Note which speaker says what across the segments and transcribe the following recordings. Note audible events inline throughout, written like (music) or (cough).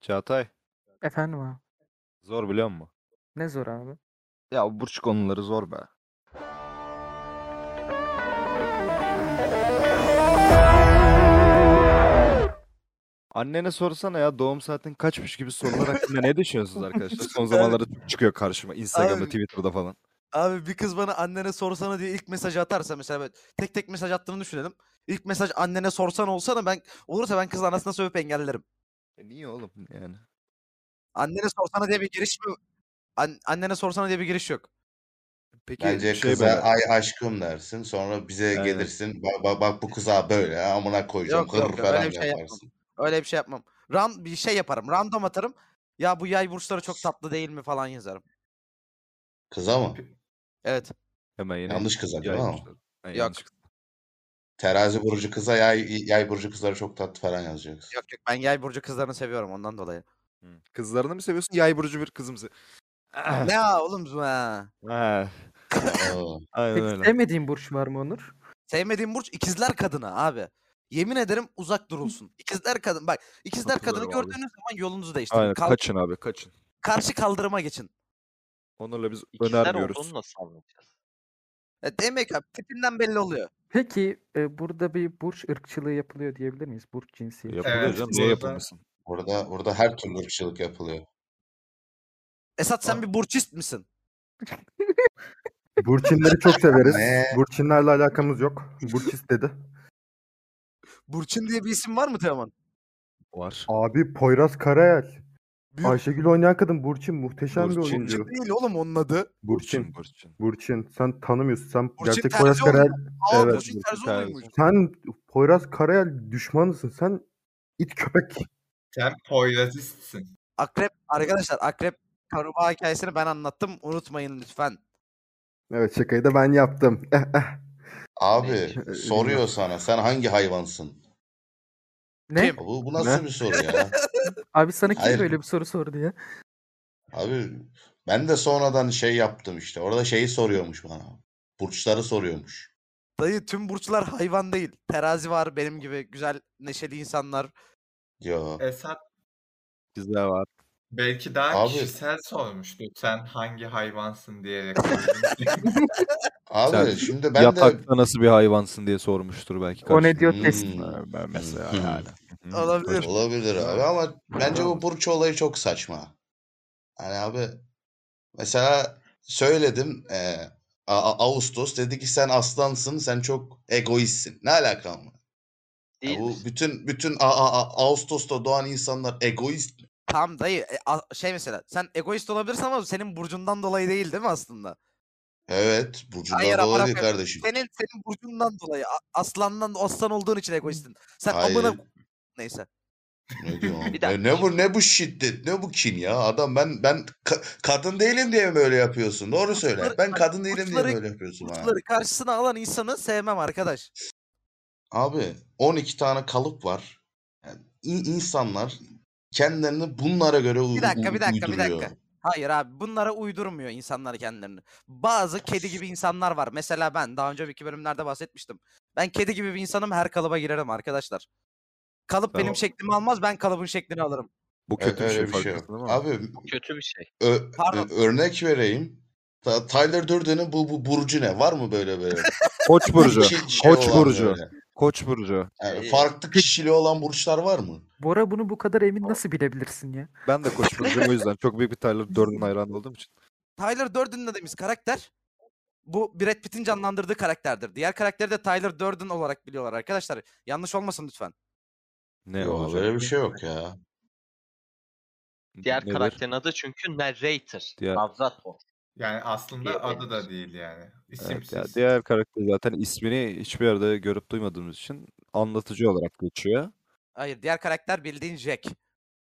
Speaker 1: Çağatay
Speaker 2: Efendim abi.
Speaker 1: zor biliyor musun?
Speaker 2: Ne zor abi.
Speaker 1: Ya bu burç konuları zor be. Annene sorsana ya doğum saatin kaçmış gibi sorular hakkında ne düşünüyorsunuz arkadaşlar? (laughs) Son zamanlarda çok çıkıyor karşıma Instagram'da,
Speaker 3: Abi-
Speaker 1: Twitter'da falan.
Speaker 3: Abi bir kız bana annene sorsana diye ilk mesajı atarsa mesela ben- tek tek mesaj attığını düşünelim. İlk mesaj annene sorsan olsana ben olursa ben kızın anasına sövüp engellerim.
Speaker 1: E niye oğlum yani?
Speaker 3: Annene sorsana diye bir giriş mi? An- annene sorsana diye bir giriş yok.
Speaker 1: Peki
Speaker 4: Bence
Speaker 1: şey
Speaker 4: kıza
Speaker 1: böyle,
Speaker 4: ay aşkım dersin. Sonra bize
Speaker 1: Aynen.
Speaker 4: gelirsin. Bak, bak, bak bu kıza böyle ha, amına koyacağım.
Speaker 3: Yok, yok,
Speaker 4: hır
Speaker 3: yok,
Speaker 4: falan
Speaker 3: öyle bir şey yapmam.
Speaker 4: yaparsın.
Speaker 3: Öyle bir şey yapmam. Ran bir şey yaparım. Random atarım. Ya bu yay burçları çok tatlı değil mi falan yazarım.
Speaker 4: Kıza mı?
Speaker 3: Evet.
Speaker 1: Hemen yine
Speaker 4: Yanlış kıza değil mi ama?
Speaker 1: yaymışlar. Ha, yanlış kız.
Speaker 4: Terazi burcu kıza yay, yay burcu kızlara çok tatlı falan yazacaksın.
Speaker 3: Yok yok ben yay burcu kızlarını seviyorum ondan dolayı.
Speaker 1: Hı. Kızlarını mı seviyorsun? Yay burcu bir kızımsı. (laughs) Eh.
Speaker 3: ne ya oğlum be.
Speaker 1: Ha,
Speaker 4: Oo.
Speaker 1: aynen
Speaker 2: Peki
Speaker 1: öyle.
Speaker 2: sevmediğin burç var mı Onur?
Speaker 3: Sevmediğim burç ikizler kadını abi. Yemin ederim uzak durulsun. İkizler kadın bak ikizler kadını
Speaker 1: Katılıyorum abi.
Speaker 3: gördüğünüz zaman yolunuzu değiştirin.
Speaker 1: Aynen
Speaker 3: Kalk-
Speaker 1: kaçın abi kaçın.
Speaker 3: karşı kaldırıma geçin.
Speaker 1: Onurla biz
Speaker 5: İkizler
Speaker 1: önermiyoruz.
Speaker 5: olduğunu nasıl anlayacağız?
Speaker 3: E, demek abi tipinden belli oluyor.
Speaker 2: Peki e, burada bir burç ırkçılığı yapılıyor diyebilir miyiz? Burç cinsiyeti.
Speaker 1: Yapılıyor
Speaker 6: Evet,
Speaker 1: canım.
Speaker 6: bu
Speaker 1: Niye
Speaker 6: arada-
Speaker 1: yapılmasın?
Speaker 4: Burada, burada her türlü ırkçılık yapılıyor.
Speaker 3: Esat sen bir burçist misin?
Speaker 7: Burçinleri çok severiz.
Speaker 4: Ne?
Speaker 7: Burçinlerle alakamız yok. Burç istedi.
Speaker 3: Burçin diye bir isim var mı Teoman?
Speaker 1: Var.
Speaker 7: Abi Poyraz Karayel.
Speaker 3: Büyük
Speaker 7: Ayşegül oynayan kadın Burçin muhteşem bir
Speaker 1: Burçin.
Speaker 7: oyuncu.
Speaker 3: değil oğlum onun adı.
Speaker 7: Burçin.
Speaker 1: Burçin.
Speaker 7: Burçin. Sen tanımıyorsun. Sen
Speaker 3: Burçin
Speaker 7: gerçek
Speaker 3: terzi
Speaker 7: Poyraz
Speaker 3: oğlum.
Speaker 7: Karayel.
Speaker 3: Aa
Speaker 7: Evet,
Speaker 3: Burçin Terzioğlu'ymuş.
Speaker 7: Sen Poyraz Karayel düşmanısın. Sen it köpek.
Speaker 6: Sen Poyrazistsin.
Speaker 3: Akrep arkadaşlar akrep karuba hikayesini ben anlattım. Unutmayın lütfen.
Speaker 7: Evet şakayı da ben yaptım. Eh, eh.
Speaker 4: Abi
Speaker 7: Ee,
Speaker 4: soruyor sana sen hangi hayvansın?
Speaker 2: Ne?
Speaker 3: Kim?
Speaker 4: Bu, bu nasıl bir soru ya?
Speaker 2: Abi sana kim
Speaker 4: Hayır.
Speaker 2: böyle bir soru sordu ya?
Speaker 4: Abi ben de sonradan şey yaptım işte. Orada şeyi soruyormuş bana. Burçları soruyormuş.
Speaker 3: Dayı tüm burçlar hayvan değil. Terazi var benim gibi güzel neşeli insanlar.
Speaker 4: Yo.
Speaker 6: Esat
Speaker 1: Güzel var.
Speaker 6: belki daha
Speaker 4: Abi-
Speaker 6: kişisel sormuştu. Sen hangi hayvansın diyerek.
Speaker 4: (laughs) Abi
Speaker 1: Sen
Speaker 4: şimdi ben de
Speaker 1: Yatakta nasıl bir hayvansın diye sormuştur belki.
Speaker 2: O ne
Speaker 1: karşına.
Speaker 2: diyor
Speaker 4: Hmm.
Speaker 2: test?
Speaker 1: Ha, ben mesela
Speaker 4: Hmm.
Speaker 1: yani. Hmm,
Speaker 3: Olabilir.
Speaker 1: kaç-
Speaker 4: Olabilir abi ama bence bu Burç olayı çok saçma. Hani abi mesela söyledim eee, A- A- Ağustos dedi ki sen aslansın sen çok egoistsin. Ne alakam var? Ya
Speaker 5: Değil
Speaker 4: bu
Speaker 5: misin?
Speaker 4: bütün bütün A- A- A- Ağustos'ta doğan insanlar egoist mi?
Speaker 3: Tam dayı e, a- şey mesela sen egoist olabilirsin ama senin burcundan dolayı değil değil mi aslında?
Speaker 4: Evet, burcundan
Speaker 3: Hayır, amına
Speaker 4: dolayı
Speaker 3: koyayım.
Speaker 4: kardeşim.
Speaker 3: Senin senin burcundan dolayı a- aslandan aslan olduğun için egoistin. Sen
Speaker 4: Hayır.
Speaker 3: amına neyse.
Speaker 4: Ne
Speaker 3: (laughs)
Speaker 4: diyorsun? E,
Speaker 5: Bir
Speaker 4: Ne, ne bu ne bu şiddet? Ne bu kin ya? Adam ben ben ka- kadın değilim diye mi öyle yapıyorsun? Doğru söyle.
Speaker 3: Burçları-
Speaker 4: Ben
Speaker 3: bak,
Speaker 4: kadın değilim diye mi
Speaker 3: burçları-
Speaker 4: öyle yapıyorsun bana?
Speaker 3: Burçları karşısına alan insanı sevmem arkadaş.
Speaker 4: Abi 12 tane kalıp var. Yani in- insanlar kendilerini bunlara göre u-
Speaker 3: Bir dakika,
Speaker 4: u-
Speaker 3: bir dakika, bir
Speaker 4: uyduruyor.
Speaker 3: dakika. Hayır abi bunlara uydurmuyor insanlar kendilerini. Bazı kedi gibi insanlar var. Mesela ben daha önceki bölümlerde bahsetmiştim. Ben kedi gibi bir insanım her kalıba girerim arkadaşlar. Kalıp benim
Speaker 1: Tamam.
Speaker 3: şeklimi almaz ben kalıbın şeklini alırım.
Speaker 1: Bu
Speaker 4: Evet,
Speaker 1: kötü bir
Speaker 4: öyle
Speaker 1: şey farkındasın ama.
Speaker 4: Abi
Speaker 5: Kötü bir şey.
Speaker 4: ö- ö-
Speaker 3: Pardon.
Speaker 4: örnek vereyim. Ta- Tyler Durden'in bu, bu burcu ne? Var mı böyle böyle? (laughs)
Speaker 1: Koç burcu.
Speaker 4: İki şey
Speaker 1: Koç
Speaker 4: olan
Speaker 1: burcu.
Speaker 4: böyle.
Speaker 1: Koç burcu.
Speaker 4: Yani
Speaker 5: Ee,
Speaker 4: farklı kişiliği olan burçlar var mı?
Speaker 2: Bora bunu bu kadar emin nasıl bilebilirsin ya?
Speaker 1: Ben de koç burcuyum o yüzden. Çok büyük bir
Speaker 4: (laughs)
Speaker 1: Tyler Durden hayranı olduğum için.
Speaker 3: Tyler Durden dediğimiz karakter bu Brad Pitt'in canlandırdığı karakterdir. Diğer karakteri de Tyler Durden olarak biliyorlar arkadaşlar. Yanlış olmasın lütfen.
Speaker 1: Ne
Speaker 4: Yok,
Speaker 1: olacak?
Speaker 4: böyle bir şey yok ya.
Speaker 5: Diğer
Speaker 1: Nedir?
Speaker 5: karakterin adı çünkü narrator.
Speaker 1: Diğer-
Speaker 5: Avrator.
Speaker 6: yani aslında adı da
Speaker 5: Diyebiliriz.
Speaker 6: değil yani.
Speaker 1: Evet, ya
Speaker 6: İsimsiz.
Speaker 1: diğer karakter zaten ismini hiçbir yerde görüp duymadığımız için anlatıcı olarak geçiyor.
Speaker 3: Hayır diğer karakter bildiğin Jack.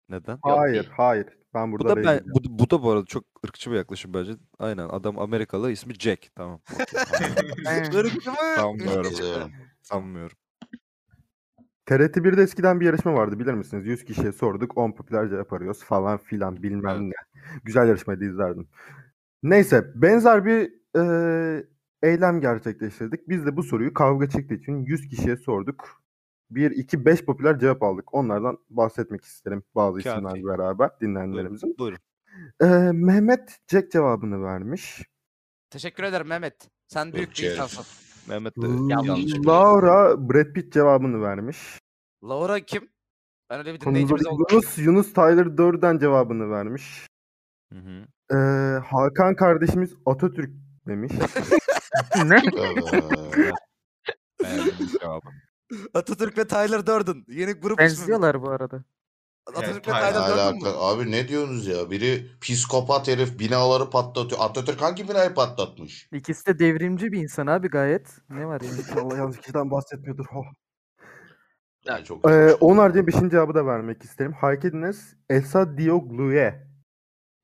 Speaker 1: Neden?
Speaker 7: Hayır,
Speaker 5: değil.
Speaker 7: hayır.
Speaker 1: Bu
Speaker 7: Ben burada
Speaker 1: da, ben,
Speaker 7: reddediyorum.
Speaker 1: bu, da- bu da bu arada çok ırkçı bir yaklaşım bence. Aynen adam Amerikalı ismi Jack. Tamam. (laughs)
Speaker 2: He.
Speaker 3: Irkçı mı?
Speaker 1: Sanmıyorum.
Speaker 4: Katılıyorum.
Speaker 1: Sanmıyorum.
Speaker 7: TRT 1'de eskiden bir yarışma vardı bilir misiniz? 100 kişiye sorduk 10 popüler cevap arıyoruz falan filan bilmem ne. Güzel yarışmaydı izlerdim. Neyse benzer bir eee, eylem gerçekleştirdik. Biz de bu soruyu kavga çıktığı için 100 kişiye sorduk. 1, 2, 5 popüler cevap aldık. Onlardan bahsetmek isterim bazı
Speaker 1: Kafi.
Speaker 7: isimlerle beraber dinleyenlerimizin.
Speaker 1: Buyurun. buyurun.
Speaker 7: Ee, Mehmet Jack cevabını vermiş.
Speaker 3: Teşekkür ederim Mehmet. Sen büyük bir
Speaker 4: Türkçe.
Speaker 3: insansın.
Speaker 1: Mehmet de Ee, yanlış.
Speaker 7: L- Laura Brad Pitt cevabını vermiş.
Speaker 3: Laura kim? Ben öyle bir
Speaker 7: Konumuzda
Speaker 3: dinleyicimiz oldu.
Speaker 7: (laughs) Yunus, Yunus Tyler Durden cevabını vermiş.
Speaker 1: Hı hı.
Speaker 7: Ee, Hakan kardeşimiz Atatürk demiş.
Speaker 6: ne?
Speaker 4: Ee,
Speaker 1: Beğendim (laughs) cevabı.
Speaker 3: Atatürk ve Tyler Durden. Yeni grup ismi.
Speaker 2: Benziyorlar bu arada.
Speaker 3: Atatürk ve (laughs)
Speaker 6: Evet,
Speaker 3: Tyler Durden
Speaker 4: alaka-
Speaker 3: mı?
Speaker 4: Abi ne diyorsunuz ya? Biri psikopat herif binaları patlatıyor. Atatürk hangi binayı patlatmış?
Speaker 2: İkisi de devrimci bir insan abi gayet. Ne var yani?
Speaker 7: (laughs) Allah yanlış kişiden bahsetmiyordur. Oh.
Speaker 4: Yani çok
Speaker 7: Ee,
Speaker 4: saçma.
Speaker 7: onun haricinde 5. cevabı da vermek isterim. Hakediniz Esa Dioglu'ye.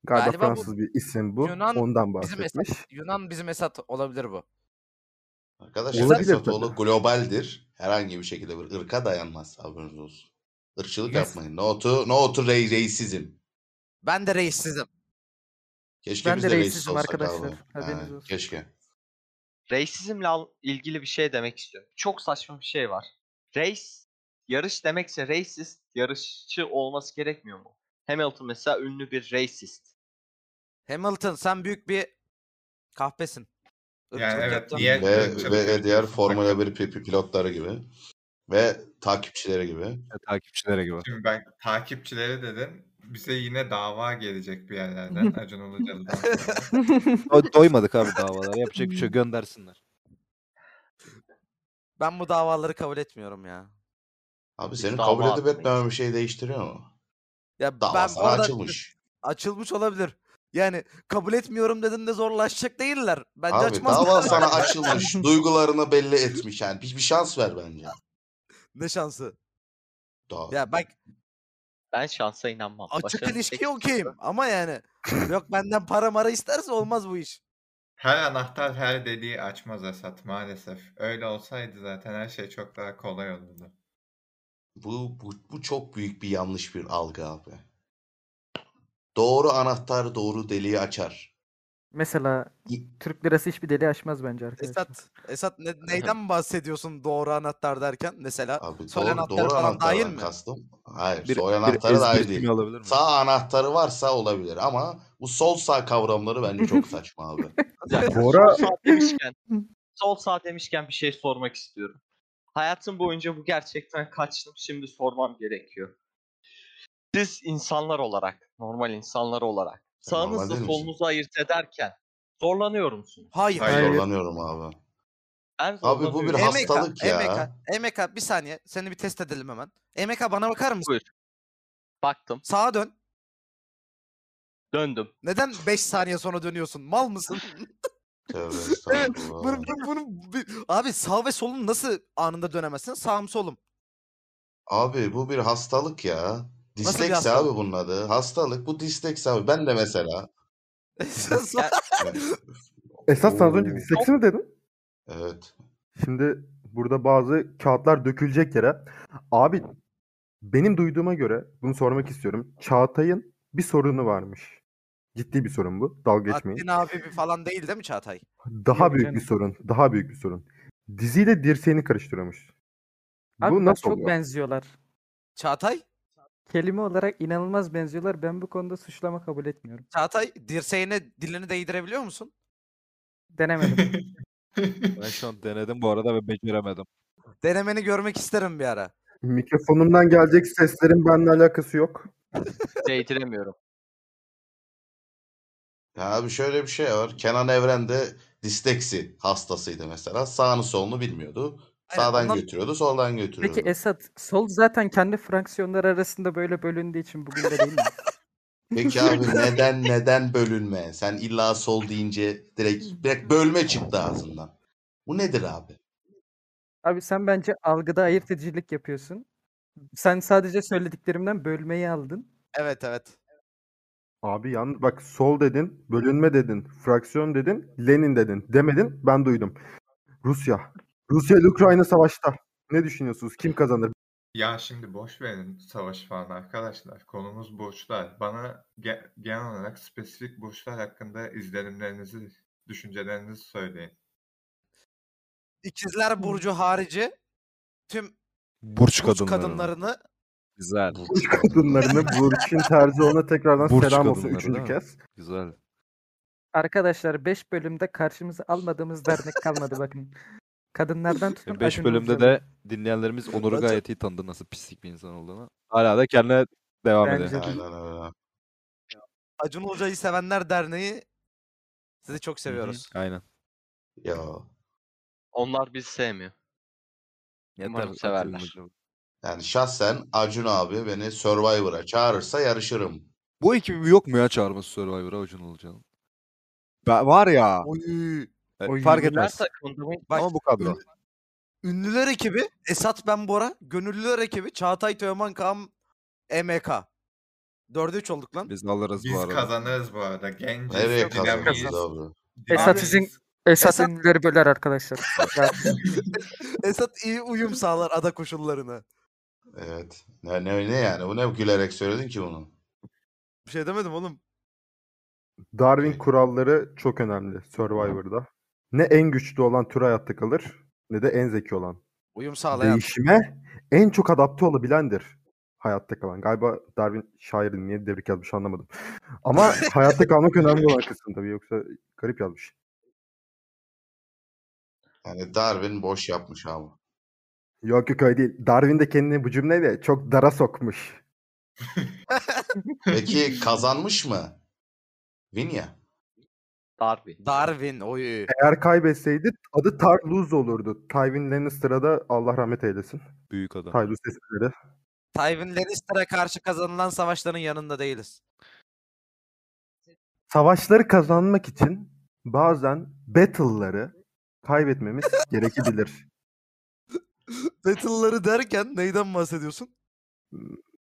Speaker 7: Galiba,
Speaker 3: Galiba bu
Speaker 7: Fransız bir isim bu.
Speaker 3: Yunan-
Speaker 7: Ondan
Speaker 3: bizim
Speaker 7: bahsetmiş.
Speaker 3: Yunan bizim Esat olabilir bu.
Speaker 4: Arkadaşlar
Speaker 7: Olabilir
Speaker 4: Esat
Speaker 7: tabii.
Speaker 4: Oğlu globaldir. Herhangi bir şekilde bir ırka dayanmaz. Haberiniz olsun. Irkçılık
Speaker 3: Yes.
Speaker 4: yapmayın. No to, no to rey, reysizm.
Speaker 3: Ben de reissizim.
Speaker 4: Keşke
Speaker 2: Ben
Speaker 4: biz
Speaker 2: de
Speaker 4: de, reisiz
Speaker 2: reisizim
Speaker 4: olsak abi.
Speaker 2: arkadaşlar. Haberiniz
Speaker 4: Ha,
Speaker 2: olsun.
Speaker 4: Keşke.
Speaker 5: Racism'le al- ilgili bir şey demek istiyorum. Çok saçma bir şey var. Race, yarış demekse racist, yarışçı olması gerekmiyor mu? Hamilton mesela ünlü bir racist.
Speaker 3: Hamilton sen büyük bir kahpesin.
Speaker 6: Yani evet
Speaker 3: yaptın.
Speaker 6: niye?
Speaker 4: Ve,
Speaker 6: ırkçılık
Speaker 4: ve, ve diğer
Speaker 6: yapıyorsun?
Speaker 4: Formula 1 pi- pi- pilotları gibi. Ve takipçileri gibi.
Speaker 1: Ve Takipçilere gibi.
Speaker 6: Şimdi ben takipçilere dedin. Bize yine dava gelecek bir
Speaker 1: (laughs)
Speaker 6: yerlerden. Acun Ilıcalı'dan sonra.
Speaker 1: Do- doymadık abi davalara. Yapacak bir şey yok, göndersinler.
Speaker 3: Ben bu davaları kabul etmiyorum ya.
Speaker 4: Abi
Speaker 5: Biz
Speaker 4: senin
Speaker 5: dava
Speaker 4: kabul edip
Speaker 5: atmayız.
Speaker 4: etmemen bir şey değiştiriyor mu?
Speaker 3: Ya
Speaker 4: Dava
Speaker 3: ben bu
Speaker 4: sana
Speaker 3: arada
Speaker 4: açılmış.
Speaker 3: açılmış olabilir. Yani kabul etmiyorum dedim de zorlaşacak değiller. Bence
Speaker 4: Abi
Speaker 3: açmazlar.
Speaker 4: dava sana açılmış. Duygularını belli etmiş yani. Bir, bir şans ver bence.
Speaker 3: (laughs) ne şansı.
Speaker 4: Dava.
Speaker 3: Ya bak
Speaker 5: Ben şansa inanmam.
Speaker 3: açık
Speaker 5: Başarının tek
Speaker 3: ilişkiye
Speaker 5: yolu-
Speaker 3: okeyim ama yani yok benden para mara isterse olmaz bu iş.
Speaker 6: Her anahtar her deliği açmaz Esat maalesef. Öyle olsaydı zaten her şey çok daha kolay olurdu.
Speaker 4: Bu, bu, bu çok büyük bir yanlış bir algı abi. Doğru anahtar doğru deliği açar.
Speaker 2: Mesela
Speaker 4: İ-
Speaker 2: Türk lirası hiçbir deli aşmaz bence arkadaşlar.
Speaker 3: Esat, Esat ne- neyden bahsediyorsun doğru anahtar derken? Mesela
Speaker 4: Abi
Speaker 3: Soy
Speaker 4: doğru,
Speaker 3: anahtarı
Speaker 4: doğru
Speaker 3: falan dahil
Speaker 4: anahtardan
Speaker 3: mi?
Speaker 4: kastım. Hayır,
Speaker 1: Bir,
Speaker 4: soy
Speaker 1: bir
Speaker 4: anahtarı dahil
Speaker 1: ezberci
Speaker 4: değil.
Speaker 1: mi olabilir mi?
Speaker 4: Sağ anahtarı varsa olabilir ama bu sol sağ kavramları
Speaker 3: (laughs)
Speaker 4: bence çok saçma abi.
Speaker 5: Zaten
Speaker 7: Bora-
Speaker 5: sol sağ demişken, sol sağ demişken bir şey sormak istiyorum. Hayatım boyunca bu gerçekten kaçtım. Şimdi sormam gerekiyor. Siz insanlar olarak, normal insanlar olarak
Speaker 4: Sen E, normal
Speaker 5: sağınızla
Speaker 4: değil misin?
Speaker 5: solunuzu ayırt ederken zorlanıyor musunuz?
Speaker 3: hayır.
Speaker 6: Hayır.
Speaker 4: Zorlanıyorum abi.
Speaker 5: Ben
Speaker 4: Abi bu bir
Speaker 5: zorlanıyorum.
Speaker 3: Emek-
Speaker 4: hastalık ya.
Speaker 3: Emeka, Emeka bir saniye seni bir test edelim hemen. Emeka bana bakar mısın?
Speaker 5: Buyur. Baktım,
Speaker 3: Sağa dön.
Speaker 5: döndüm.
Speaker 3: Neden 5 saniye sonra dönüyorsun? Mal mısın?
Speaker 4: Tövbe estağfurullah.
Speaker 3: Bunu- bunu- bunu bi- abi sağ ve solun nasıl anında dönemezsin? Sağım solum. (laughs)
Speaker 4: Abi bu bir hastalık ya.
Speaker 3: bir
Speaker 4: Disleksi
Speaker 3: hastalık?
Speaker 4: abi bunun adı. Hastalık bu disleksi abi. Ben de mesela.
Speaker 3: (laughs) Sağ-
Speaker 7: Esas sen az önce
Speaker 4: Oo.
Speaker 7: disleksi mi dedin?
Speaker 4: Evet.
Speaker 7: Şimdi burada bazı kağıtlar dökülecek yere. Abi benim duyduğuma göre bunu sormak istiyorum. Çağatay'ın bir sorunu varmış. Ciddi bir sorun bu. Dalga geçmeyin.
Speaker 3: Akdin abi bir falan değil değil mi Çağatay?
Speaker 7: Daha
Speaker 2: Yok
Speaker 7: büyük
Speaker 2: canım.
Speaker 7: bir sorun. Daha büyük bir sorun. Diziyle dirseğini karıştırıyormuş.
Speaker 2: Abi
Speaker 7: bu
Speaker 2: bak
Speaker 7: nasıl
Speaker 2: çok
Speaker 7: oluyor?
Speaker 2: benziyorlar.
Speaker 3: Çağatay?
Speaker 2: Kelime olarak inanılmaz benziyorlar. Ben bu konuda suçlama kabul etmiyorum.
Speaker 3: Çağatay dirseğine dilini değdirebiliyor musun?
Speaker 2: Denemedim.
Speaker 1: Ben şu an denedim bu arada ve beceremedim.
Speaker 3: Denemeni görmek isterim bir ara.
Speaker 7: Mikrofonumdan gelecek seslerin benimle alakası yok.
Speaker 5: Değdiremiyorum.
Speaker 4: Ya abi şöyle bir şey var. Kenan Evren de disleksi hastasıydı mesela. Sağını solunu bilmiyordu.
Speaker 3: Aynen,
Speaker 4: Sağdan
Speaker 3: ondan-
Speaker 4: götürüyordu, soldan götürüyordu.
Speaker 2: Peki Esat, sol zaten kendi fraksiyonlar arasında böyle bölündüğü için bugün de değil mi?
Speaker 4: Peki abi neden neden bölünme? Sen illa sol deyince direkt direkt bölme çıktı ağzından. Bu nedir abi?
Speaker 2: Abi sen bence algıda ayırt edicilik yapıyorsun. Sen sadece söylediklerimden bölmeyi aldın.
Speaker 3: Evet evet.
Speaker 7: Abi yalnız bak sol dedin, bölünme dedin, fraksiyon dedin, Lenin dedin. Demedin, ben duydum. Rusya. Rusya ile Ukrayna savaşta. Ne düşünüyorsunuz? Kim kazanır?
Speaker 6: Ya şimdi boş verin savaş falan arkadaşlar. Konumuz burçlar. Bana ge- genel olarak spesifik burçlar hakkında izlenimlerinizi, düşüncelerinizi söyleyin.
Speaker 3: İkizler Burcu harici tüm
Speaker 1: Burç,
Speaker 3: Burç
Speaker 1: kadınları.
Speaker 3: kadınlarını
Speaker 1: Güzel. (laughs)
Speaker 7: Burç kadınlarını Burç'in Tercioğlu'na tekrardan
Speaker 1: Burç
Speaker 7: selam olsun
Speaker 1: kadınları,
Speaker 7: üçüncü
Speaker 1: değil mi?
Speaker 7: kez.
Speaker 1: Güzel.
Speaker 2: Arkadaşlar 5 bölümde karşımıza almadığımız dernek kalmadı bakın. Kadınlardan tutun.
Speaker 1: 5
Speaker 2: Acun
Speaker 1: bölümde
Speaker 2: Ilıcalı'ya.
Speaker 1: de dinleyenlerimiz Onur'u
Speaker 3: Zaten-
Speaker 1: gayet iyi tanıdı nasıl pislik bir insan olduğunu. Hala da kendine devam
Speaker 2: Bence
Speaker 1: ediyor.
Speaker 2: de.
Speaker 4: Aynen öyle.
Speaker 3: Acun Hoca'yı sevenler derneği sizi çok seviyoruz.
Speaker 1: Aynen.
Speaker 4: Ya.
Speaker 5: Onlar bizi sevmiyor. Umarım
Speaker 1: Acun
Speaker 5: severler.
Speaker 1: Ilıcalı.
Speaker 4: Yani şahsen Acun abi beni Survivor'a çağırırsa yarışırım.
Speaker 1: Bu ekibi yok mu ya çağırması Survivor'a Acun Ilıcalı'nın? Ben- Var ya. E,
Speaker 2: Oy,
Speaker 1: fark
Speaker 5: Ünlüler
Speaker 1: etmez.
Speaker 5: takımında mı?
Speaker 3: Bak,
Speaker 1: Ama bu kadro.
Speaker 3: Ünlüler ekibi Esat Ben Bora, Gönüllüler ekibi Çağatay Teoman Kam EMK. 4'e 3 olduk lan.
Speaker 1: Biz alırız bu
Speaker 6: Biz
Speaker 1: arada.
Speaker 6: kazanırız bu arada. Genciz,
Speaker 4: Nereye
Speaker 6: dinamiyiz,
Speaker 4: kazanırız abi?
Speaker 2: Esat
Speaker 6: dinamiyiz.
Speaker 2: sizin- Esas ünlüleri böler arkadaşlar. Ya,
Speaker 3: (laughs) Esat iyi uyum sağlar ada koşullarına.
Speaker 4: Evet. Ne, ne, ne yani? Bu ne gülerek söyledin ki bunu?
Speaker 3: Bir şey demedim oğlum.
Speaker 7: Darwin kuralları çok önemli Survivor'da. Ne en güçlü olan tür hayatta kalır ne de en zeki olan.
Speaker 3: Uyum sağlayan.
Speaker 7: Değişime en çok adapte olabilendir hayatta kalan. Galiba Darwin şairin niye devrik yazmış anlamadım.
Speaker 2: (laughs)
Speaker 7: Ama hayatta kalmak önemli olan kısım tabii yoksa garip yazmış.
Speaker 4: Yani Darwin boş yapmış ama.
Speaker 7: Yok yok öyle değil. Darwin de kendini bu cümleyle çok dara sokmuş.
Speaker 4: Peki kazanmış mı? Vinya.
Speaker 5: Darby.
Speaker 3: Darwin oyu.
Speaker 7: Eğer kaybetseydi adı Tarluz olurdu. Tywin Lannister'a da Allah rahmet eylesin.
Speaker 1: Büyük adam.
Speaker 7: Tarluz sesleri.
Speaker 3: Tywin Lannister'a karşı kazanılan savaşların
Speaker 1: (laughs)
Speaker 3: yanında değiliz.
Speaker 7: Savaşları kazanmak için bazen battle'ları
Speaker 2: (laughs)
Speaker 7: kaybetmemiz gerekebilir.
Speaker 3: Battle'ları derken neyden bahsediyorsun?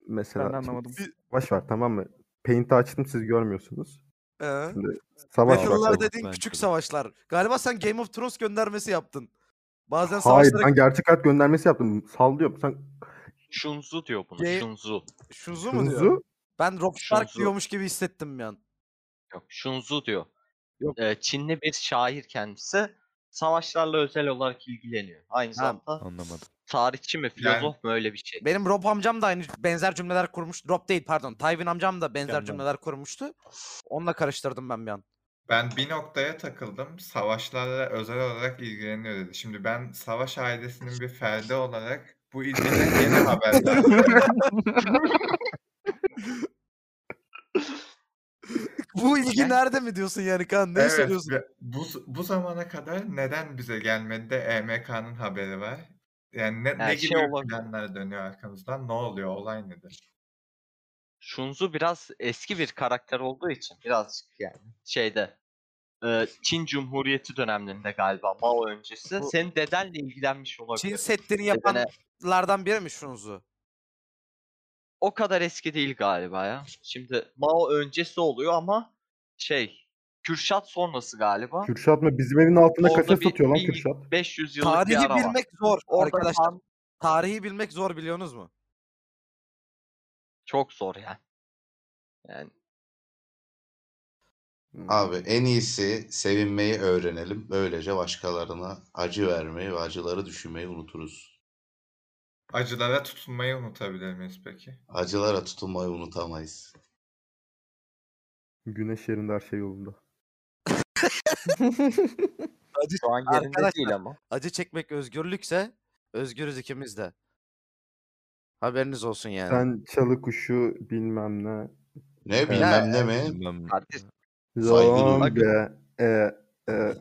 Speaker 7: Mesela
Speaker 2: ben de anlamadım.
Speaker 7: Savaş var tamam mı? Paint'i açtım siz görmüyorsunuz.
Speaker 3: Ee,
Speaker 7: Savaş var.
Speaker 1: Battle'lar
Speaker 3: Battle'lar
Speaker 7: tabii.
Speaker 1: dedi-
Speaker 3: dediğin
Speaker 1: bence
Speaker 3: küçük
Speaker 1: de.
Speaker 3: savaşlar. Galiba sen Game of Thrones göndermesi yaptın. Bazen
Speaker 7: Hayır
Speaker 3: savaşlara...
Speaker 7: ben gerçek hayat göndermesi yaptım. Sallıyorum. Sen
Speaker 5: Şunzu diyor buna.
Speaker 3: Ge-
Speaker 5: Şunzu.
Speaker 3: Şunzu mu diyor?
Speaker 7: Kunzu
Speaker 3: Ben Rob Stark
Speaker 5: Şunzu.
Speaker 3: diyormuş gibi hissettim bir an.
Speaker 5: Yok, Şunzu diyor.
Speaker 3: Yok.
Speaker 5: Ee, Çinli bir şair kendisi. Savaşlarla özel olarak ilgileniyor. Aynı
Speaker 3: Tamam.
Speaker 5: zamanda
Speaker 1: Anlamadım.
Speaker 5: tarihçi mi, filozof mu öyle bir şey.
Speaker 3: Benim Rob amcam da aynı benzer cümleler kurmuş. Rob değil pardon. Tywin amcam da benzer
Speaker 8: Mükemmel.
Speaker 3: cümleler kurmuştu. Onunla karıştırdım ben bir an.
Speaker 6: Ben bir noktaya takıldım. Savaşlarla özel olarak ilgileniyor dedi. Şimdi ben savaş ailesinin bir ferdi olarak bu ilgiden yeni haberdar. oldum.
Speaker 3: (laughs) Bu ilgi
Speaker 5: Yani-
Speaker 3: nerede mi diyorsun yani Kaan? Ne
Speaker 6: (laughs) evet,
Speaker 3: söylüyorsun?
Speaker 6: ve bu, bu zamana kadar neden bize gelmedi de EMK'nın haberi var? Yani ne, ne
Speaker 5: Yani
Speaker 6: gibi
Speaker 5: şey olabilir.
Speaker 6: planlar dönüyor arkamızdan? Ne oluyor? Olay nedir?
Speaker 5: Şunzu biraz eski bir karakter olduğu için birazcık yani şeyde e, Çin Cumhuriyeti dönemlerinde galiba Mao öncesi
Speaker 3: Bu-
Speaker 5: senin dedenle ilgilenmiş olabilir.
Speaker 3: Çin setlerini
Speaker 5: Dedene-
Speaker 3: yapanlardan biri mi Şunzu?
Speaker 5: o kadar eski değil galiba ya. Şimdi Mao öncesi oluyor ama şey Kürşat sonrası galiba.
Speaker 7: Kürşat mı? Bizim evin altında
Speaker 5: Orada
Speaker 7: kaça
Speaker 5: bir-
Speaker 7: satıyor lan
Speaker 5: bir
Speaker 7: Kürşat?
Speaker 5: 500 yıllık bir
Speaker 3: Tarihi
Speaker 5: ara var.
Speaker 3: bilmek zor
Speaker 5: Orada
Speaker 3: arkadaşlar.
Speaker 5: tam
Speaker 3: Tarihi bilmek zor biliyorsunuz mu?
Speaker 5: çok zor yani. Yani
Speaker 3: Hmm.
Speaker 4: Abi en iyisi sevinmeyi öğrenelim. Böylece başkalarına acı vermeyi ve acıları düşünmeyi unuturuz.
Speaker 6: Acılara tutunmayı unutabilir miyiz peki?
Speaker 4: Acılara tutunmayı unutamayız.
Speaker 7: Güneş yerinde her şey yolunda.
Speaker 3: Acı,
Speaker 5: şu an yerinde
Speaker 3: Arkadaşlar,
Speaker 5: değil ama.
Speaker 3: acı çekmek özgürlükse özgürüz ikimiz de. Haberiniz olsun yani.
Speaker 7: Sen çalı kuşu bilmem ne.
Speaker 4: Ne bilmem ne mi?
Speaker 1: Bilmem.
Speaker 5: Kardeş,
Speaker 4: Saygı duy.
Speaker 7: Zombi. E, e,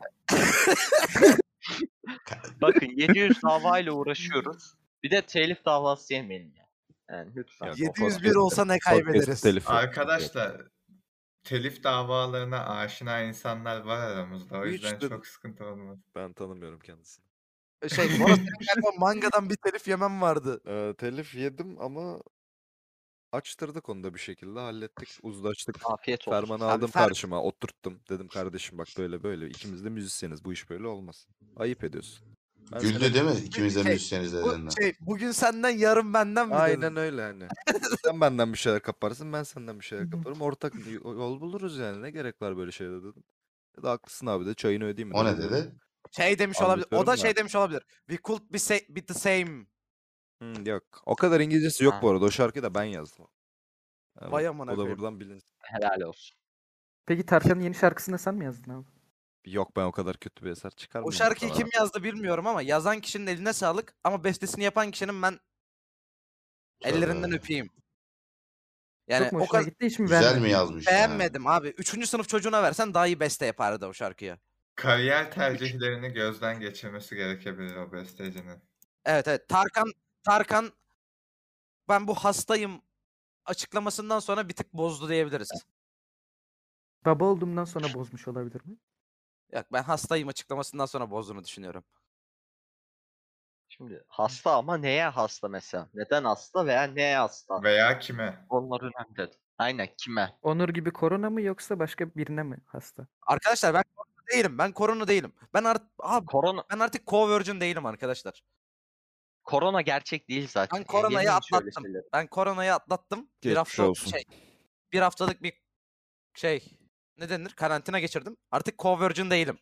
Speaker 5: Bakın (laughs) 700 davayla uğraşıyoruz. Bir de telif davası yemeyelim yani. Yani lütfen.
Speaker 1: Ya,
Speaker 5: o-
Speaker 3: 701 olsa ne
Speaker 1: Podcast
Speaker 3: kaybederiz?
Speaker 1: telifi.
Speaker 6: Arkadaşlar telif davalarına aşina insanlar var aramızda. O
Speaker 1: Hiç
Speaker 6: yüzden
Speaker 1: de-
Speaker 6: çok sıkıntı olmaz.
Speaker 1: Ben tanımıyorum kendisini.
Speaker 3: Şey, bu arada senin galiba mangadan bir telif yemem vardı.
Speaker 1: Ee, telif yedim ama açtırdık onu da bir şekilde hallettik, uzlaştık.
Speaker 5: Afiyet olsun.
Speaker 1: Fermanı
Speaker 3: Abi
Speaker 1: aldım
Speaker 3: Fer-
Speaker 1: karşıma, oturttum. Dedim kardeşim bak böyle böyle ikimiz de müzisyeniz. Bu iş böyle olmaz. Ayıp ediyorsun. Ben
Speaker 4: Güldü
Speaker 1: sana-
Speaker 4: değil mi? İkimiz de
Speaker 3: Şey,
Speaker 4: müzisyeniz
Speaker 3: Bu
Speaker 4: dediğinde.
Speaker 3: şey, bugün senden yarın benden mi
Speaker 1: Aynen
Speaker 3: dedin?
Speaker 1: öyle hani. (laughs) Sen benden bir şeyler kaparsın, ben senden bir şeyler kaparım. Ortak bir yo- yol buluruz yani. Ne gerek var böyle şeylere dedim. Ya da haklısın abi de çayını ödeyeyim mi?
Speaker 4: O ne dedi?
Speaker 3: Şey demiş olabilir. O
Speaker 1: Anlatıyorum
Speaker 3: da
Speaker 1: ya.
Speaker 3: şey demiş olabilir. We could be, sa- be the same.
Speaker 1: Hmm, yok. O kadar İngilizcesi yok
Speaker 5: Ha.
Speaker 1: bu arada. O şarkıyı da ben yazdım. Yani
Speaker 3: Vay
Speaker 1: o
Speaker 3: amına
Speaker 1: da
Speaker 3: koyayım.
Speaker 1: buradan bilin.
Speaker 5: Helal olsun.
Speaker 2: Peki Tarkan'ın yeni şarkısını sen mi yazdın abi?
Speaker 1: Yok ben o kadar kötü bir eser
Speaker 3: O
Speaker 1: çıkarmadım.
Speaker 3: şarkıyı
Speaker 1: falan.
Speaker 3: kim yazdı bilmiyorum ama yazan kişinin eline sağlık ama bestesini yapan kişinin ben ellerinden
Speaker 1: Tabii.
Speaker 3: öpeyim. Yani
Speaker 2: Çok mu
Speaker 3: o
Speaker 2: hoşuna
Speaker 3: kadar
Speaker 2: gitti hiç mi
Speaker 4: Güzel
Speaker 2: beğenmedin?
Speaker 4: mi yazmış? ya?
Speaker 3: beğenmedim abi. Üçüncü sınıf çocuğuna versen daha iyi beste yapardı o şarkıyı.
Speaker 6: Kariyer tercihlerini gözden geçirmesi gerekebilir o bestecinin.
Speaker 3: Evet evet. Tarkan Tarkan ben bu hastayım açıklamasından sonra bir tık bozdu diyebiliriz.
Speaker 2: Baba olduğumdan sonra bozmuş olabilir mi?
Speaker 3: Yok ben hastayım açıklamasından sonra bozduğunu düşünüyorum.
Speaker 5: Şimdi hasta ama neye hasta mesela? Neden hasta veya neye hasta?
Speaker 6: Veya kime?
Speaker 5: Onlar önemli dedi. Aynen kime?
Speaker 2: Onur gibi korona mı yoksa başka birine mi hasta?
Speaker 3: Arkadaşlar ben korona değilim. Ben korona değilim. Ben artık abi
Speaker 5: Korona
Speaker 3: ben artık co-virgin değilim arkadaşlar.
Speaker 5: korona gerçek değil zaten.
Speaker 3: Ben
Speaker 5: ya,
Speaker 3: koronayı
Speaker 5: yemeyin şöyle
Speaker 3: atlattım.
Speaker 5: şeyleri.
Speaker 3: Ben koronayı atlattım. bir
Speaker 1: Geçmiş
Speaker 3: haftalık
Speaker 1: olsun.
Speaker 3: şey. Bir haftalık bir şey ne denir? Karantina geçirdim. Artık co-virgin değilim.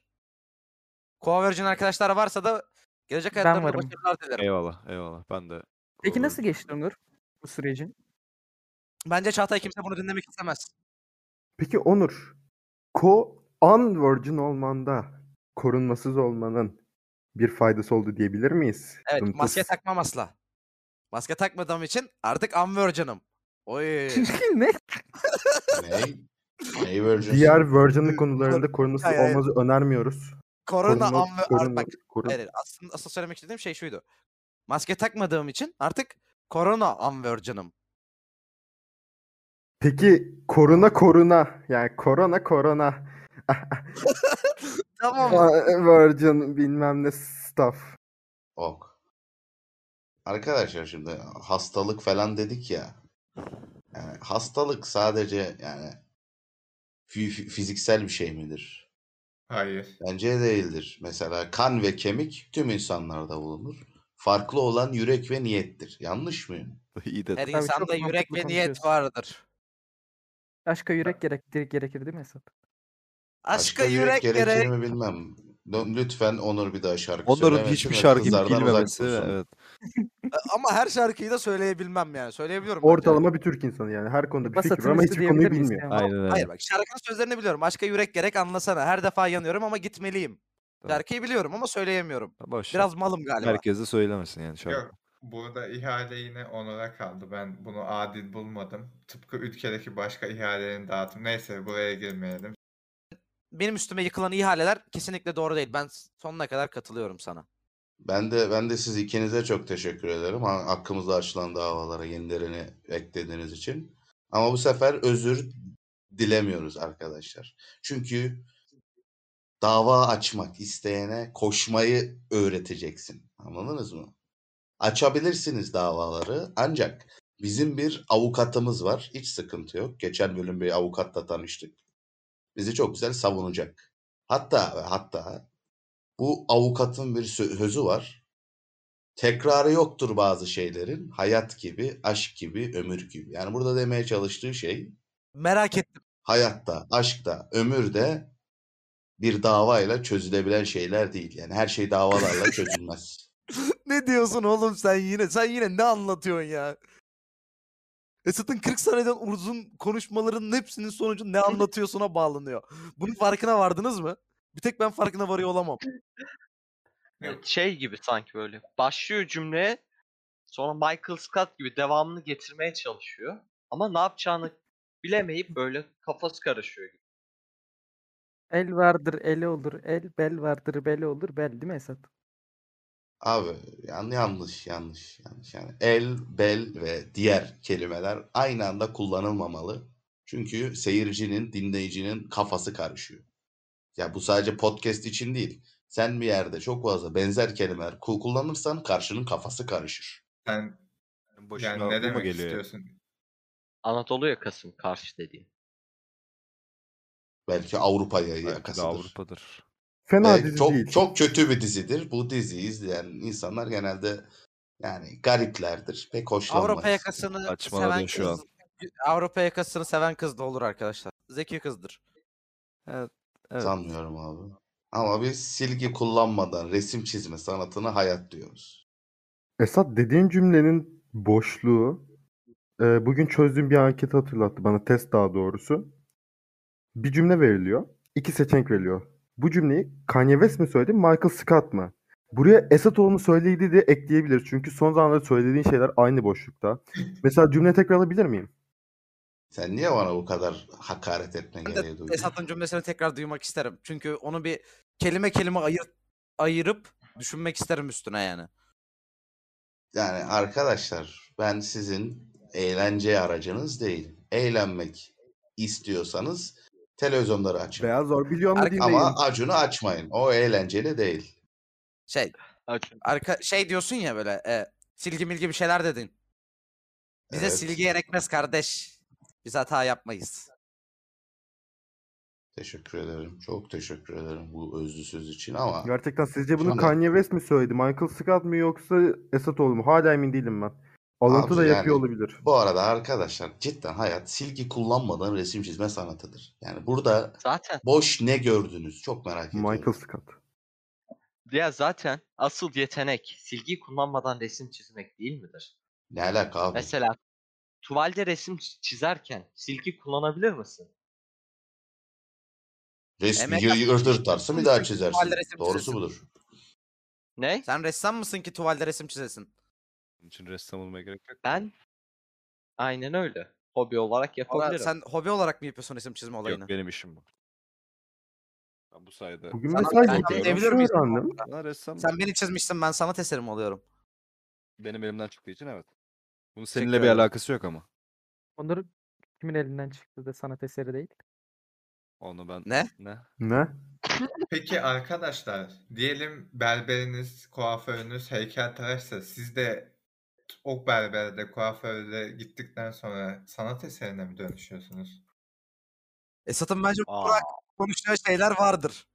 Speaker 3: Co-virgin arkadaşlar varsa da gelecek
Speaker 2: Ben
Speaker 3: hayatlarında
Speaker 2: varım.
Speaker 3: başarılar dilerim.
Speaker 1: Eyvallah eyvallah ben de.
Speaker 2: Peki
Speaker 1: Olur. (laughs)
Speaker 2: nasıl geçti Onur bu sürecin?
Speaker 3: Bence Çağatay kimse bunu dinlemek istemez.
Speaker 7: Peki Onur, ko an virgin olmanda korunmasız olmanın bir faydası oldu diyebilir miyiz?
Speaker 3: Evet
Speaker 7: Dımtıs.
Speaker 3: maske takmam asla. Maske takmadığım için artık unvirgin'ım.
Speaker 1: (laughs)
Speaker 3: Oy.
Speaker 2: ne?
Speaker 4: Ney? Neyi böleceğiz?
Speaker 7: Diğer virginlik konularında korunmasız
Speaker 3: Hayır, hayır.
Speaker 7: olmanızı önermiyoruz.
Speaker 3: Korona
Speaker 7: Korunma-
Speaker 3: unvirgin.
Speaker 7: korunma-
Speaker 3: Bak
Speaker 7: korun-
Speaker 3: hayır, aslında asıl söylemek istediğim şey şuydu. Maske takmadığım için artık korona unvirgin'ım.
Speaker 7: Peki koruna koruna yani korona korona
Speaker 3: Tamam.
Speaker 7: virgin bilmem ne stuff.
Speaker 4: Ok. Arkadaşlar şimdi hastalık falan dedik ya. Yani hastalık sadece yani fi- fi- fiziksel bir şey midir?
Speaker 6: Hayır.
Speaker 4: Bence değildir. Mesela kan ve kemik tüm insanlarda bulunur. Farklı olan yürek ve niyettir. Yanlış mıyım?
Speaker 1: İyi de
Speaker 3: Her şey
Speaker 2: çok
Speaker 3: insanda yürek
Speaker 2: mantıklı
Speaker 3: ve niyet
Speaker 2: konuşuyorsun.
Speaker 3: vardır.
Speaker 2: Aşka yürek gerektir, gerekir değil mi Esat?
Speaker 3: Aşka yürek
Speaker 4: gerekir
Speaker 3: gerek.
Speaker 4: mi bilmem. L- Lütfen Onur bir daha şarkı
Speaker 1: Onların
Speaker 4: söylemesin
Speaker 1: hiçbir
Speaker 4: ve
Speaker 1: şarkıyı
Speaker 4: kızlardan uzak
Speaker 1: bilmemesi.
Speaker 4: dursun.
Speaker 1: Evet.
Speaker 3: (laughs) Ama her şarkıyı da söyleyebilmem yani. Söyleyebiliyorum. bence.
Speaker 7: Ortalama bir Türk insanı yani her konuda bir fikir var
Speaker 2: Basatın
Speaker 7: ama
Speaker 2: üstü
Speaker 7: hiçbir konuyu
Speaker 2: diyebilir miyiz?
Speaker 7: bilmiyor.
Speaker 2: yani?
Speaker 1: Aynen öyle.
Speaker 3: Hayır bak şarkının sözlerini biliyorum. Aşka yürek gerek anlasana. Her defa yanıyorum ama gitmeliyim.
Speaker 1: Tamam.
Speaker 3: Şarkıyı biliyorum ama söyleyemiyorum.
Speaker 1: Boş. ver.
Speaker 3: Biraz malım galiba.
Speaker 1: Herkes de söylemesin yani şarkı.
Speaker 6: Yok. Burada ihale yine onlara kaldı. Ben bunu adil bulmadım. Tıpkı ülkedeki başka ihalelerin dağıtım. Neyse buraya girmeyelim.
Speaker 3: benim üstüme yıkılan ihaleler kesinlikle doğru değil. Ben s- sonuna kadar katılıyorum sana.
Speaker 4: Ben de ben de siz ikinize çok teşekkür ederim. Ha- Hakkımızda açılan davalara yenilerini eklediğiniz için. Ama bu sefer özür dilemiyoruz arkadaşlar. Çünkü dava açmak isteyene koşmayı öğreteceksin. Anladınız mı? Açabilirsiniz davaları ancak bizim bir avukatımız var. Hiç sıkıntı yok. Geçen bölüm bir avukatla tanıştık. Bizi çok güzel savunacak. Hatta ve hatta bu avukatın bir sö- sözü var. Tekrarı yoktur bazı şeylerin. Hayat gibi, aşk gibi, ömür gibi. Yani burada demeye çalıştığı şey
Speaker 3: Merak ettim.
Speaker 4: hayatta, aşkta, ömürde bir davayla çözülebilen şeyler değil. Yani her şey davalarla çözülmez.
Speaker 3: ne diyorsun oğlum sen yine? Sen yine ne anlatıyorsun ya? Esat'ın 40 saniyeden uzun konuşmalarının hepsinin sonucu ne anlatıyorsuna bağlanıyor. Bunun farkına vardınız mı? Bir tek ben farkına varıyor olamam.
Speaker 6: Yok.
Speaker 5: Şey gibi sanki böyle. Başlıyor cümleye. Sonra Michael Scott gibi devamını getirmeye çalışıyor. Ama ne yapacağını bilemeyip böyle kafası karışıyor. gibi.
Speaker 2: El vardır, el olur. El, bel vardır, bel olur. Bel değil mi Esat?
Speaker 4: Abi yani yanlış, yanlış, yanlış. Yani el, bel ve diğer kelimeler aynı anda kullanılmamalı. Çünkü seyircinin, dinleyicinin kafası karışıyor. Ya bu sadece podcast için değil. Sen bir yerde çok fazla benzer kelimeler ku- kullanırsan karşının kafası karışır.
Speaker 6: Sen
Speaker 1: Boşuna
Speaker 6: yani
Speaker 1: bu
Speaker 6: ne
Speaker 1: mu
Speaker 6: demek
Speaker 1: geliyor?
Speaker 6: istiyorsun?
Speaker 5: Anadolu yakası mı karşı dediğin?
Speaker 4: Belki Avrupa'ya
Speaker 1: Belki de
Speaker 4: yakasıdır.
Speaker 1: Avrupa'dır.
Speaker 7: Fena
Speaker 4: Ve
Speaker 7: dizi
Speaker 4: çok
Speaker 7: değil.
Speaker 4: çok kötü bir dizidir. Bu diziyi izleyen insanlar genelde yani gariplerdir. Pek hoşlanmaz.
Speaker 3: Avrupa yakasını
Speaker 1: Saçmaladın
Speaker 3: seven
Speaker 1: şu an.
Speaker 3: kız. Avrupa yakasını seven kız da olur arkadaşlar. Zeki kızdır.
Speaker 1: Evet.
Speaker 4: Sanmıyorum abi. Ama biz silgi kullanmadan resim çizme sanatına hayat diyoruz.
Speaker 7: Esat dediğin cümlenin boşluğu e, bugün çözdüğüm bir anketi hatırlattı bana test daha doğrusu. Bir cümle veriliyor. iki seçenek veriliyor. Bu cümleyi Kanye West mi söyledi Michael Scott mı? Buraya Esat oğlu söyledi diye ekleyebilir. Çünkü son zamanlarda söylediğin şeyler aynı boşlukta. Mesela cümle tekrar alabilir miyim?
Speaker 4: Sen niye bana bu kadar hakaret etme
Speaker 3: Ben de
Speaker 4: gereği duydun?
Speaker 3: Esat'ın cümlesini tekrar duymak isterim. Çünkü onu bir kelime kelime ayır, ayırıp düşünmek isterim üstüne yani.
Speaker 4: Yani arkadaşlar ben sizin eğlence aracınız değil. Eğlenmek istiyorsanız televizyonları açın.
Speaker 7: Beyaz zor biliyorum da
Speaker 3: Ar-
Speaker 7: dinleyin.
Speaker 4: Ama Acun'u açmayın. O eğlenceli değil.
Speaker 3: Şey,
Speaker 5: Acun.
Speaker 3: arka, şey diyorsun ya böyle e, silgi milgi bir şeyler dedin. Bize
Speaker 4: Evet.
Speaker 3: silgi gerekmez kardeş. Biz hata yapmayız.
Speaker 4: Teşekkür ederim. Çok teşekkür ederim bu özlü söz için ama
Speaker 7: Gerçekten sizce bunu
Speaker 4: Tamam.
Speaker 7: Kanye West mi söyledi? Michael Scott mı yoksa Esat oğlu mu? Hala emin değilim ben. Alıntı
Speaker 4: Abi
Speaker 7: da
Speaker 4: yani-
Speaker 7: yapıyor olabilir.
Speaker 4: bu arada arkadaşlar cidden hayat silgi kullanmadan resim çizme sanatıdır. Yani burada
Speaker 5: Zaten
Speaker 4: boş ne gördünüz? Çok merak ediyorum.
Speaker 7: Michael Scott.
Speaker 5: ya zaten asıl yetenek silgiyi kullanmadan resim çizmek değil midir?
Speaker 4: Ne alaka abi?
Speaker 5: Mesela tuvalde resim ç- çizerken silgi kullanabilir misin?
Speaker 4: Resmi
Speaker 3: Emek
Speaker 4: yır-
Speaker 3: yapmak
Speaker 4: yırtır
Speaker 3: için
Speaker 4: tarsın bir
Speaker 3: resim
Speaker 4: daha
Speaker 3: çizim,
Speaker 4: çizersin.
Speaker 3: tuvalde resim
Speaker 4: Doğrusu
Speaker 3: çizersin.
Speaker 4: budur.
Speaker 5: Ne?
Speaker 3: Sen ressam mısın ki tuvalde resim çizesin?
Speaker 1: Bunun için ressam olmaya gerek yok.
Speaker 5: Ben aynen öyle. Hobi olarak
Speaker 3: Ola,
Speaker 5: yapabilirim.
Speaker 3: sen hobi olarak mı yapıyorsun resim çizme olayını?
Speaker 1: Yok benim işim bu. Ben bu sayede
Speaker 7: Bugün
Speaker 3: Sana
Speaker 7: mesela
Speaker 3: ben
Speaker 7: yeni bir
Speaker 3: diyebilir
Speaker 7: şey
Speaker 3: miyiz?
Speaker 7: öğrendim.
Speaker 1: Lan ressam
Speaker 3: Sen beni çizmişsin ben sanat eserim oluyorum.
Speaker 1: benim elimden çıktığı için evet. Bunun
Speaker 3: Teşekkür
Speaker 1: seninle bir
Speaker 3: ederim.
Speaker 1: alakası yok ama.
Speaker 2: Onları kimin elinden çıktı da sanat eseri değil.
Speaker 1: Onu ben
Speaker 3: Ne?
Speaker 1: ne?
Speaker 7: Ne?
Speaker 6: Peki arkadaşlar, diyelim berberiniz, kuaförünüz heykeltıraşsa siz de o berberde, kuaförde gittikten sonra sanat eserine mi dönüşüyorsunuz?
Speaker 3: E, Esat'ın bence
Speaker 5: Aa.
Speaker 3: Burak konuşacağı şeyler vardır.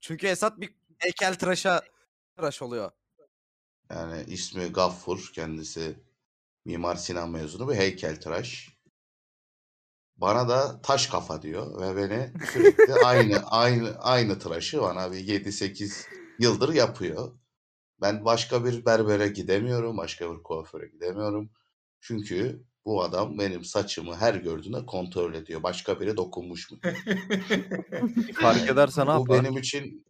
Speaker 3: Çünkü Esat bir heykel tıraşa tıraş oluyor.
Speaker 4: Yani ismi Gaffur, kendisi Mimar Sinan mezunu bir heykeltıraş. Bana da taş kafa diyor ve beni sürekli aynı aynı aynı tıraşı bana bir 7-8 yıldır yapıyor. Ben başka bir berbere gidemiyorum, başka bir kuaföre gidemiyorum. Çünkü bu adam benim saçımı her gördüğünde kontrol ediyor. Başka biri dokunmuş mu?
Speaker 1: Fark edersen ne
Speaker 4: Bu
Speaker 1: yapar?
Speaker 4: benim için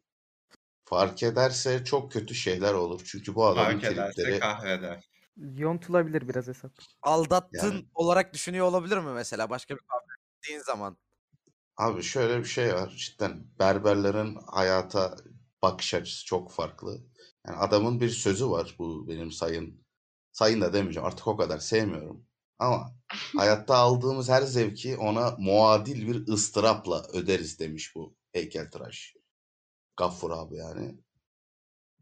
Speaker 4: fark ederse çok kötü şeyler olur. Çünkü bu adamın
Speaker 6: Fark ederse
Speaker 4: tripleri
Speaker 6: kahreder.
Speaker 2: Yontulabilir biraz Esat.
Speaker 3: Aldattın olarak düşünüyor olabilir mi mesela başka bir kavga ettiğin zaman?
Speaker 4: Abi şöyle bir şey var cidden berberlerin hayata bakış açısı çok farklı. Yani adamın bir sözü var bu benim sayın. Sayın da demeyeceğim artık o kadar sevmiyorum. Ama hayatta aldığımız her zevki ona muadil bir ıstırapla öderiz demiş bu heykeltıraş. Gaffur abi yani.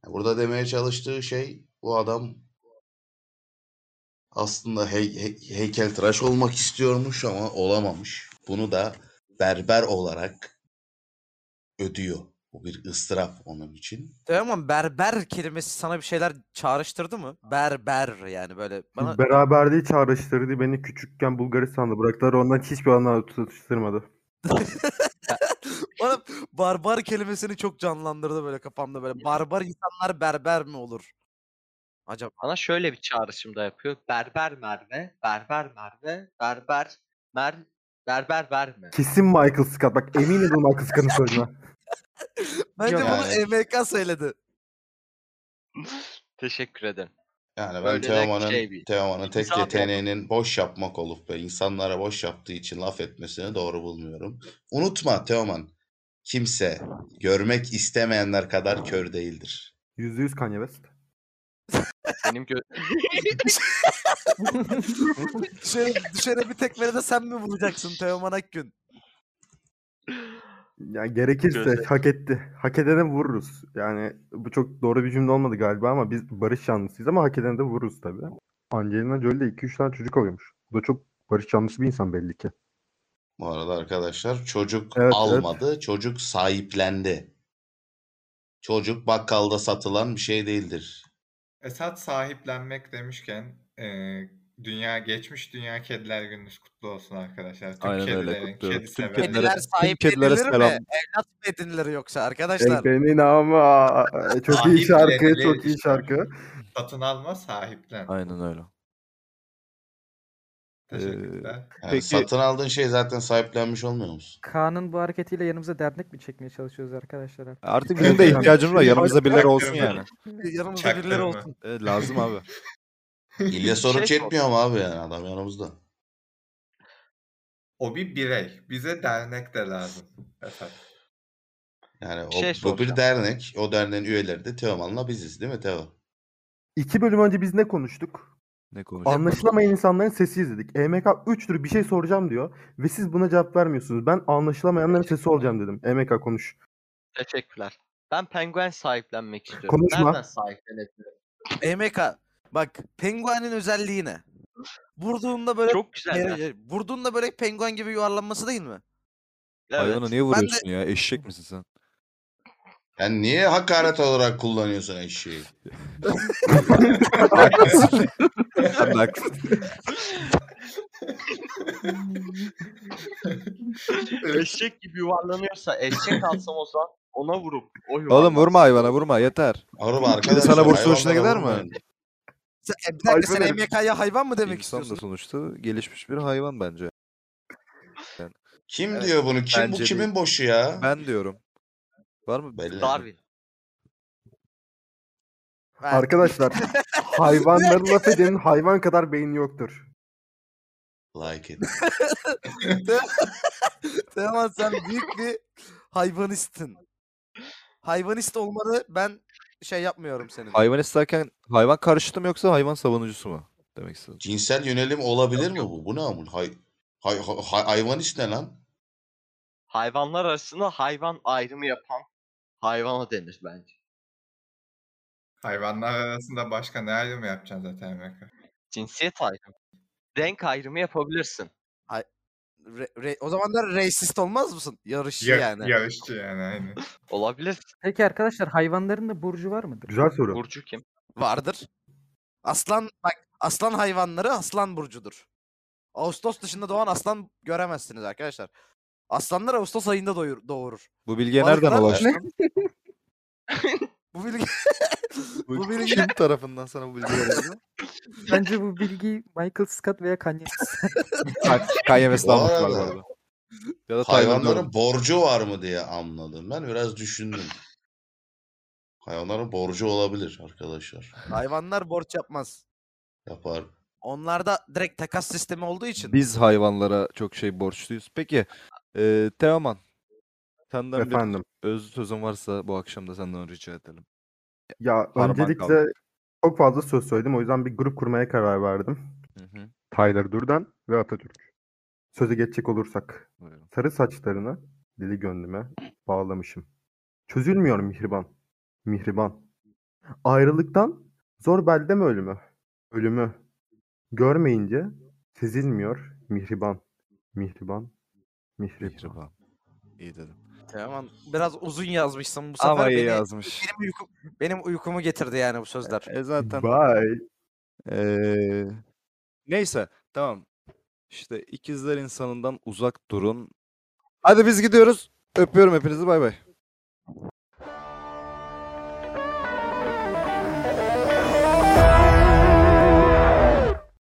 Speaker 4: Yani Burada demeye çalıştığı şey bu adam aslında hey, hey, heykeltıraş olmak istiyormuş ama olamamış. Bunu da berber olarak ödüyor. Bu bir ıstırap onun için.
Speaker 3: Teoman berber kelimesi sana bir şeyler çağrıştırdı mı? Berber yani böyle bana
Speaker 7: Beraberliği çağrıştırdı. Beni küçükken Bulgaristan'da bıraktılar. Ondan hiçbir anı tutuşturmadı.
Speaker 3: bana barbar kelimesini çok canlandırdı böyle kafamda böyle. Barbar insanlar berber mi olur? Acaba
Speaker 5: Bana şöyle bir çağrışımda yapıyor. Berber Merve, berber Merve, berber mer berber verme.
Speaker 7: Kesin Michael Scott. Bak eminim bu Michael Scott'ın sözüne.
Speaker 3: bence
Speaker 2: Yok.
Speaker 3: bunu
Speaker 4: Yani-
Speaker 3: EMK söyledi.
Speaker 5: Teşekkür ederim.
Speaker 4: Yani ben
Speaker 5: Böyle de
Speaker 4: Teoman'ın
Speaker 5: şey bir-
Speaker 4: Teoman'ın tek
Speaker 5: İnsan yok.
Speaker 4: yeteneğinin boş yapmak olup ve insanlara boş yaptığı için laf etmesini doğru bulmuyorum. Unutma Teoman. Kimse görmek istemeyenler kadar kör değildir.
Speaker 7: %100 Kanye West.
Speaker 5: Benim gö-
Speaker 3: Şöyle, şöyle Şey, bir tekmele de sen mi bulacaksın Teoman Akgün?
Speaker 7: Yani gerekirse
Speaker 5: Gözde.
Speaker 7: hak etti. Hak edene vururuz. Yani bu çok doğru bir cümle olmadı galiba ama biz barış yanlısıyız ama hak edene de vururuz tabii. Angelina Jolie'de 2-3 tane çocuk oluyormuş. Bu da çok barış yanlısı bir insan belli ki.
Speaker 4: Bu arada arkadaşlar çocuk
Speaker 7: Evet, evet.
Speaker 4: almadı, çocuk sahiplendi. Çocuk bakkalda satılan bir şey değildir.
Speaker 6: Esat sahiplenmek demişken e, dünya geçmiş Dünya Kediler Gününüz kutlu olsun arkadaşlar. Tüm
Speaker 1: Aynen öyle,
Speaker 6: kedilerin,
Speaker 1: kutluyorum.
Speaker 6: kedi
Speaker 1: Tüm
Speaker 6: severlerin.
Speaker 1: Kedilere-
Speaker 3: Kediler
Speaker 1: tüm
Speaker 3: sahip
Speaker 1: kedilere
Speaker 3: edilir mi?
Speaker 1: selam.
Speaker 3: Evlat mı edinilir yoksa arkadaşlar?
Speaker 7: Benim ama. e, Çok iyi
Speaker 6: Sahiplenili
Speaker 7: şarkı, çok iyi
Speaker 6: işte.
Speaker 7: şarkı.
Speaker 6: Satın alma sahiplen.
Speaker 1: Aynen öyle.
Speaker 6: Teşekkürler.
Speaker 4: Yani
Speaker 1: Peki-
Speaker 4: satın aldığın şey zaten sahiplenmiş olmuyor musun?
Speaker 2: Kaan'ın bu hareketiyle yanımıza dernek mi çekmeye çalışıyoruz arkadaşlar? artık?
Speaker 1: Artık (laughs)
Speaker 7: Evet,
Speaker 1: bizim de
Speaker 7: yani.
Speaker 1: ihtiyacımız var. Yanımızda birileri olsun
Speaker 6: Çaktırma.
Speaker 1: yani. (laughs)
Speaker 3: Yanımızda
Speaker 6: Çaktırma.
Speaker 3: birileri olsun.
Speaker 1: Evet, E, lazım abi.
Speaker 4: İlla soru
Speaker 5: Şey
Speaker 4: çekmiyor mu abi yani adam yanımızda?
Speaker 6: O bir birey. Bize dernek de lazım. Efendim.
Speaker 4: Yani o
Speaker 5: Şey
Speaker 4: bu bir
Speaker 5: soracağım.
Speaker 4: dernek. O derneğin üyeleri de Teoman'la biziz değil mi Teo?
Speaker 7: İki bölüm önce biz ne konuştuk?
Speaker 1: Ne konuşuyoruz?
Speaker 7: Anlaşılamayan insanların sesi izledik. E EMK 3 tür bir şey soracağım diyor. Ve siz buna cevap vermiyorsunuz. Ben anlaşılamayanların sesi olacağım dedim. EMK konuş.
Speaker 5: Teşekkürler. Ben penguen sahiplenmek istiyorum.
Speaker 7: Konuşma.
Speaker 5: Nereden sahiplenebilirim?
Speaker 3: EMK. E Bak penguenin özelliği ne? Vurduğunda böyle
Speaker 5: Çok güzel.
Speaker 3: Hayır,
Speaker 5: ya.
Speaker 3: hayır. Vurduğunda böyle penguen gibi yuvarlanması değil mi?
Speaker 5: Evet.
Speaker 1: Hayvana niye vuruyorsun ya? Eşek misin
Speaker 3: (laughs)
Speaker 1: sen?
Speaker 4: Yani niye hakaret olarak kullanıyorsun eşeği?
Speaker 1: Haklısın. Sen de haklısın.
Speaker 5: Eşek gibi yuvarlanıyorsa eşek alsam o zaman ona vurup o
Speaker 1: Oğlum
Speaker 5: yuvarlansın.
Speaker 1: vurma hayvana vurma yeter.
Speaker 4: Araba
Speaker 1: Bir de
Speaker 4: arkadaşlar.
Speaker 1: sana bursu hoşuna
Speaker 4: hayvanlara
Speaker 1: gider mi?
Speaker 4: vurmayın.
Speaker 3: Sen, e, bir dakika sen
Speaker 7: Hayvan herif.
Speaker 3: EMK'ya hayvan mı demek
Speaker 1: İnsan da
Speaker 3: istiyorsun?
Speaker 1: sonuçta gelişmiş bir hayvan bence.
Speaker 4: Kim
Speaker 1: Evet,
Speaker 4: diyor bunu? Kim bu
Speaker 1: bence
Speaker 4: kimin
Speaker 1: değil.
Speaker 4: boşu ya?
Speaker 1: Ben diyorum. Var mı?
Speaker 4: Belli.
Speaker 5: Darwin.
Speaker 3: Ben- (laughs)
Speaker 7: Arkadaşlar hayvanları laf edenin hayvan kadar beyni yoktur.
Speaker 4: Like it.
Speaker 3: Teoman sen büyük bir hayvanistin. Hayvanist olmanı ben şey yapmıyorum senin.
Speaker 1: Hayvan isterken hayvan karşıtı mı yoksa hayvan savunucusu mu? Demek istedim.
Speaker 4: Cinsel yönelim olabilir mi bu? Bu ne amın? Hay, hay, hay, hay- hayvanist ne lan?
Speaker 5: Hayvanlar arasında hayvan ayrımı yapan hayvana denir bence.
Speaker 6: Hayvanlar arasında başka ne ayrım yapacaksın zaten EMK?
Speaker 5: Cinsiyet ayrımı. Renk ayrımı yapabilirsin.
Speaker 3: Re- re- o zaman da racist olmaz mısın?
Speaker 1: Şey
Speaker 3: Yarışçı
Speaker 6: Ya-
Speaker 3: yani.
Speaker 6: Yarışçı yani aynı.
Speaker 5: Olabilir.
Speaker 2: Peki arkadaşlar hayvanların da burcu var mıdır?
Speaker 7: Güzel soru.
Speaker 5: Burcu kim?
Speaker 3: Vardır. Aslan bak aslan hayvanları aslan burcudur. Ağustos dışında doğan aslan göremezsiniz arkadaşlar. Aslanlar Ağustos ayında doyur- doğurur.
Speaker 1: Bu bilgiye
Speaker 3: Balıklar
Speaker 1: nereden
Speaker 3: da-
Speaker 1: ulaştın?
Speaker 3: (laughs) Bu bilgi bu bilgi
Speaker 1: Kim (laughs) tarafından sana bu bilgiyi verildi?
Speaker 2: Bence bu bilgiyi Michael Scott veya Kanye
Speaker 1: Kanye West
Speaker 4: Bu
Speaker 1: almış var bu
Speaker 4: arada
Speaker 1: arada. Ya da Hayvanların...
Speaker 4: Hayvanların borcu var mı diye anladım. Ben biraz düşündüm. Hayvanların borcu olabilir arkadaşlar.
Speaker 3: hayvanlar borç yapmaz.
Speaker 4: Yapar.
Speaker 3: Onlarda direkt takas sistemi olduğu için.
Speaker 1: Biz hayvanlara çok şey borçluyuz. Peki e, Teoman senden bir
Speaker 7: Efendim.
Speaker 1: özlü sözün varsa bu akşam da senden rica edelim.
Speaker 7: Ya
Speaker 1: Parmak
Speaker 7: öncelikle
Speaker 1: kaldı.
Speaker 7: çok fazla söz söyledim. O yüzden bir grup kurmaya karar verdim.
Speaker 1: Hı hı.
Speaker 7: Tyler Durden ve Atatürk. Söze geçecek olursak.
Speaker 1: Buyurun.
Speaker 7: Sarı saçlarını deli gönlüme bağlamışım. Çözülmüyor mihriban. Mihriban. Ayrılıktan zor belde mi ölümü? Ölümü. Görmeyince sezilmiyor mihriban. Mihriban. Mihriban.
Speaker 1: Mihriban. İyi dedim.
Speaker 3: Tamam. Biraz uzun yazmışsın bu sefer.
Speaker 1: Ama iyi
Speaker 3: beni-
Speaker 1: yazmış.
Speaker 3: Benim, uyku- benim uykumu getirdi yani bu sözler.
Speaker 1: E, zaten
Speaker 7: Bye.
Speaker 1: Ee, neyse tamam. İşte ikizler insanından uzak durun. Hadi biz gidiyoruz. Öpüyorum hepinizi bay bay.